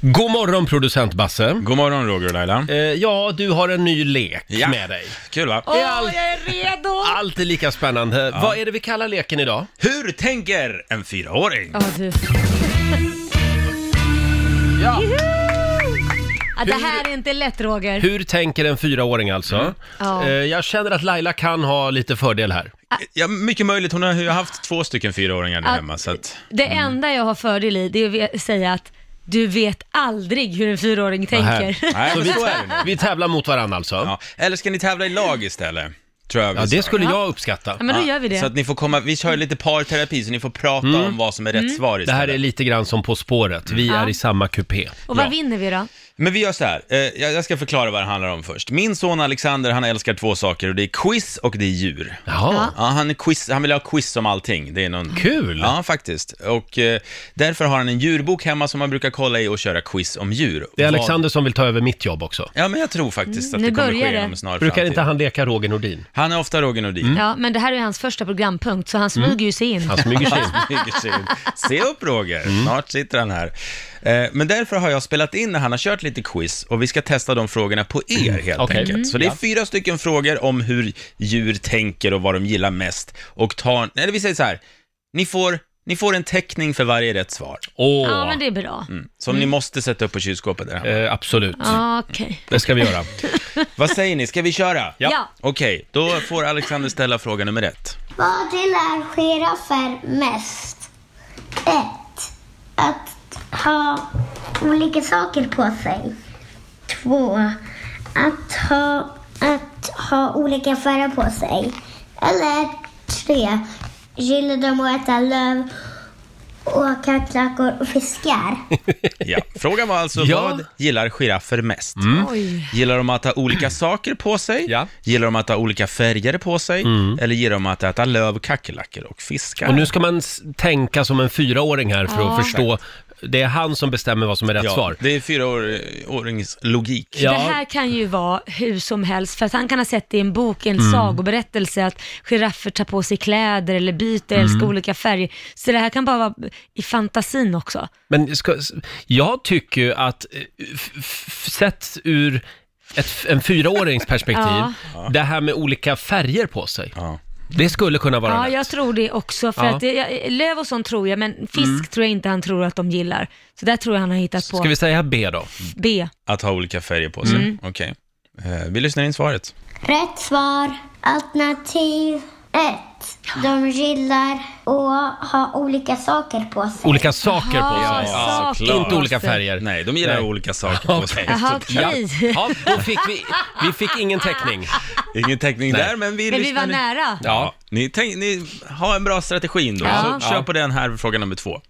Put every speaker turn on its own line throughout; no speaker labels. God morgon producent Basse.
God morgon Roger och Laila.
Eh, ja, du har en ny lek
Ja.
med dig.
Kul va?
Det är
Åh,
allt-
jag är redo!
Allt är lika spännande. Vad är det vi kallar leken idag?
Hur tänker en fyraåring?
Ja, du.
Ja.
Ja, det här är inte lätt, Roger.
Hur tänker en fyraåring alltså?
Ja.
Eh, jag känner att Laila kan ha lite fördel här.
Ja, mycket möjligt. Hon har ju haft två stycken fyraåringar där
Ah.
hemma så att...
Det enda jag har fördel i, det är att ve- säga att du vet aldrig hur en fyraåring tänker.
Nej,
Så
men
vi,
så är det nu.
vi tävlar mot varandra alltså. Ja,
Ja. Eller ska ni tävla i lag istället? Tror jag vi
det
sa.
skulle jag uppskatta.
Ja, men då gör vi
Så att
det. Mm.
ni får komma, vi kör lite parterapi så ni får prata om vad som är rätt svar
Det
istället.
här är lite grann som På spåret. Vi är
Ja.
i samma kupé.
Och vad
Ja.
vinner vi då?
Men vi gör så här, eh, jag jag ska förklara vad det handlar om först. Min son Alexander, han älskar två saker och det är quiz och det är djur.
Jaha,
Ja.
Ja, han, är quiz, han vill ha quiz om allting. Det är någon...
kul!
Ja, faktiskt. Och eh, därför har han en djurbok hemma som han brukar kolla i och köra quiz om djur.
Det är
Vad-
Alexander som vill ta över mitt jobb också.
Ja, men jag tror faktiskt att
Mm, nu
det kommer
börjar
ske
det.
inom en snar
Brukar
framtid.
inte han Mm. leka Roger Nordin?
Han är ofta Roger Nordin.
Ja, men det här är ju hans första programpunkt, så han smyger ju sig in.
Han smyger sig in.
Han smyger sig in. Se upp Roger,
Mm.
snart sitter han här. Eh, Men därför har jag spelat in när han har kört lite quiz och vi ska testa de frågorna på er helt
Okej. Mm.
enkelt. Så det är
Ja.
fyra stycken frågor om hur djur tänker och vad de gillar mest. Och tar, eller vi säger så här, ni får, ni får en teckning för varje rätt svar. mm,
Åh,
Ja, men det är bra.
Som ni måste sätta upp på kylskåpet där hemma.
Mm. eh, absolut.
Ja, Okej.
Det ska vi göra.
Vad säger ni, ska vi köra?
Ja.
Ja.
Okej, då får Alexander ställa fråga nummer ett.
Vad gillar giraffer mest? 1. Att ha olika saker på sig. 2. Att ha, att ha olika färger på sig. Eller 3. Gillar de att äta löv, åka klackor och fiskar?
Ja. Frågan var alltså,
Ja. Mm.
vad gillar giraffer mest?
Oj.
Gillar de att ha olika saker på sig?
Ja. Mm.
Gillar de att ha olika färger på sig? Eller gillar de att äta löv, kackerlackor och fiskar?
Och nu ska man s- tänka som en fyraåring här för att
Ja.
förstå. Det är han som bestämmer vad som är rätt
ja,
svar.
Det är fyraårings logik.
Ja.
Det här kan ju vara hur som helst, för att han kan ha sett det i en bok, en sagoberättelse, att giraffer tar på sig kläder eller byter, älskar olika färger. Så det här kan bara vara i fantasin också.
Men ska, s- jag tycker ju att, eh, f- f- sett ur ett, f- en fyraårings perspektiv, det här med olika färger på sig,
Ja.
det skulle kunna vara
Ja,
rätt.
jag tror det också. För
Ja.
att det, jag- löv och sånt tror jag, men fisk tror jag inte han tror att de gillar. Så där tror jag han har hittat på.
Ska vi säga B då?
B.
Att ha olika färger på sig.
Mm.
Okej. Eh, vi lyssnar in svaret.
Rätt svar. Alternativ 1. De gillar att ha olika saker på sig.
Olika saker på
Ja,
sig.
Ja,
saker
såklart.
på
Inte olika
sig.
färger.
Nej, de gillar
Nej.
olika saker på sig.
Jaha,
såklart.
okej.
Ja, då fick vi, vi fick ingen täckning.
Ingen täckning där, men vi
Men vi
lyssnar
var
in.
nära.
Ja, ni, tänk, ni har en bra strategi ändå,
Ja.
så kör på den här fråga nummer två.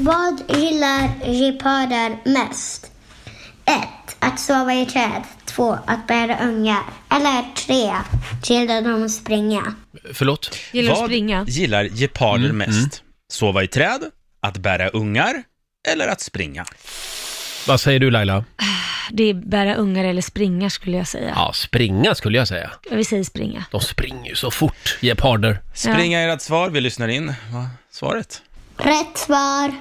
Vad gillar geparder mest? 1. Att sova i träd. 2. Att bära ungar. Eller 3. Gillar de att springa?
Förlåt?
Gillar att
Vad
springa.
gillar geparder
Mm.
mest? Sova i träd, att bära ungar eller att springa?
Vad säger du Laila?
Det är bära ungar eller springa skulle jag säga.
Ja, springa skulle jag säga.
Vi säger springa.
De springer ju så fort, geparder.
Springa är ert svar, vi lyssnar in Va? svaret.
Rätt svar.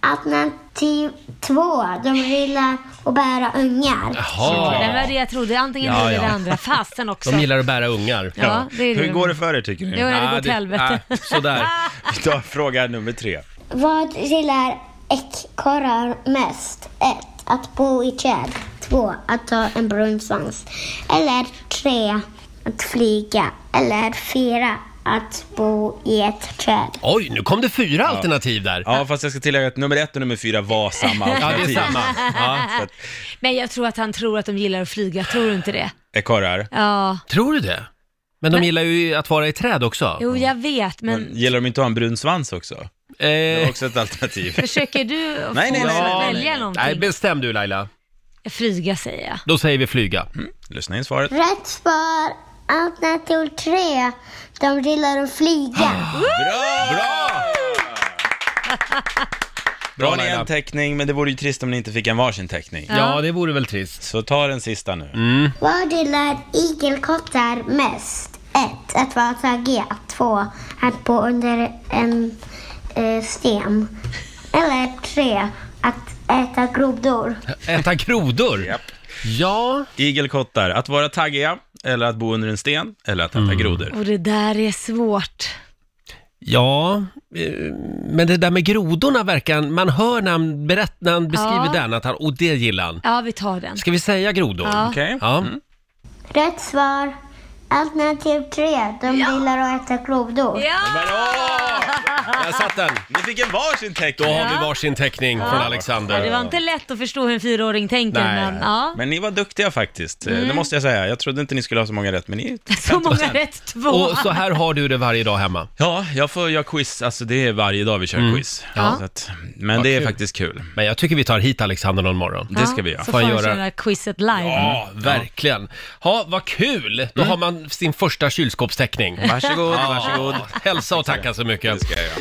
Alternativ 2. De gillar att bära ungar.
Ja, det
Jaha,
var det jag trodde. Antingen
Ja,
det eller
ja.
det andra. Fasen också.
de gillar att bära ungar.
Ja, det är det.
Hur går det för er tycker ni?
Jo, det
Ah,
går åt helvete.
äh,
ah, sådär.
Vi tar fråga nummer tre.
Vad gillar ekorrar mest? 1. Att bo i träd. 2. Att ha en brun svans. Eller 3. Att flyga. Eller 4. Att bo i ett träd.
Oj, nu kom det fyra alternativ där.
Ja, fast jag ska tillägga att nummer ett och nummer fyra var samma
Ja, det
alternativ.
är samma. Ja.
Så att,
Men jag tror att han tror att de gillar att flyga. Tror du inte det?
ekorrar,
Ja.
Tror du det? Men de gillar ju att vara i träd också.
Jo, jag vet, men
gillar de inte att ha en brun svans också? Det var
Eh,
också ett alternativ.
försöker du att
Nej, nej,
få
nej,
oss
nej,
att
nej,
välja
nej.
någonting?
nej, bestäm du Laila.
Flyga säger jag.
Då säger vi flyga.
Lyssna in svaret.
Rätt svar alternativ 3. De gillar att flyga.
Bra! Bra! Bra ni
Laila.
en teckning, men det vore ju trist om ni inte fick en varsin teckning.
Ja, Mm. det vore väl trist.
Så ta den sista nu.
Vad gillar igelkottar mest? 1. Att vara taggiga. 2. Att bo under en eh, sten. Eller 3. Att Äta grodor.
Äta grodor?
Japp.
Ja,
Igelkottar, att vara taggiga, eller att bo under en sten, eller att äta
Mm.
grodor.
Och det där är svårt.
ja, eh, men det där med grodorna verkar han- man hör när han, berätt, när han beskriver
Ja.
den att han, och det gillar han.
Ja, vi tar den.
Ska vi säga grodor?
Ja.
Okej? Mm.
Ja.
Rätt svar. Alternativ tre. De gillar att äta grodor.
Ja!
Bra!
Där satt den!
Ni fick en varsin
Då
teckning.
har vi varsin teckning från
Ja, det
Alexander.
var inte lätt att förstå hur en fyraåring tänker,
Nej.
men ja. Mm.
Men ni var duktiga faktiskt, Eh, det måste jag säga. Jag trodde inte ni skulle ha så många rätt, men ni...
Så många rätt, två.
Och så här har du det varje dag hemma.
Ja, jag får göra quiz, alltså det är varje dag vi kör quiz.
Ja.
Så att, men
Mm. Vad
det är
kul.
faktiskt kul.
Men jag tycker vi tar hit Alexander någon morgon.
Det ska vi göra.
Så
Får
får
jag
han
göra-
köra quizet live.
Ja, verkligen. Ja, vad kul!
Mm.
Då har man sin första kylskåpsteckning.
Varsågod,
Varsågod. Hälsa och tacka så mycket.
Det ska jag göra.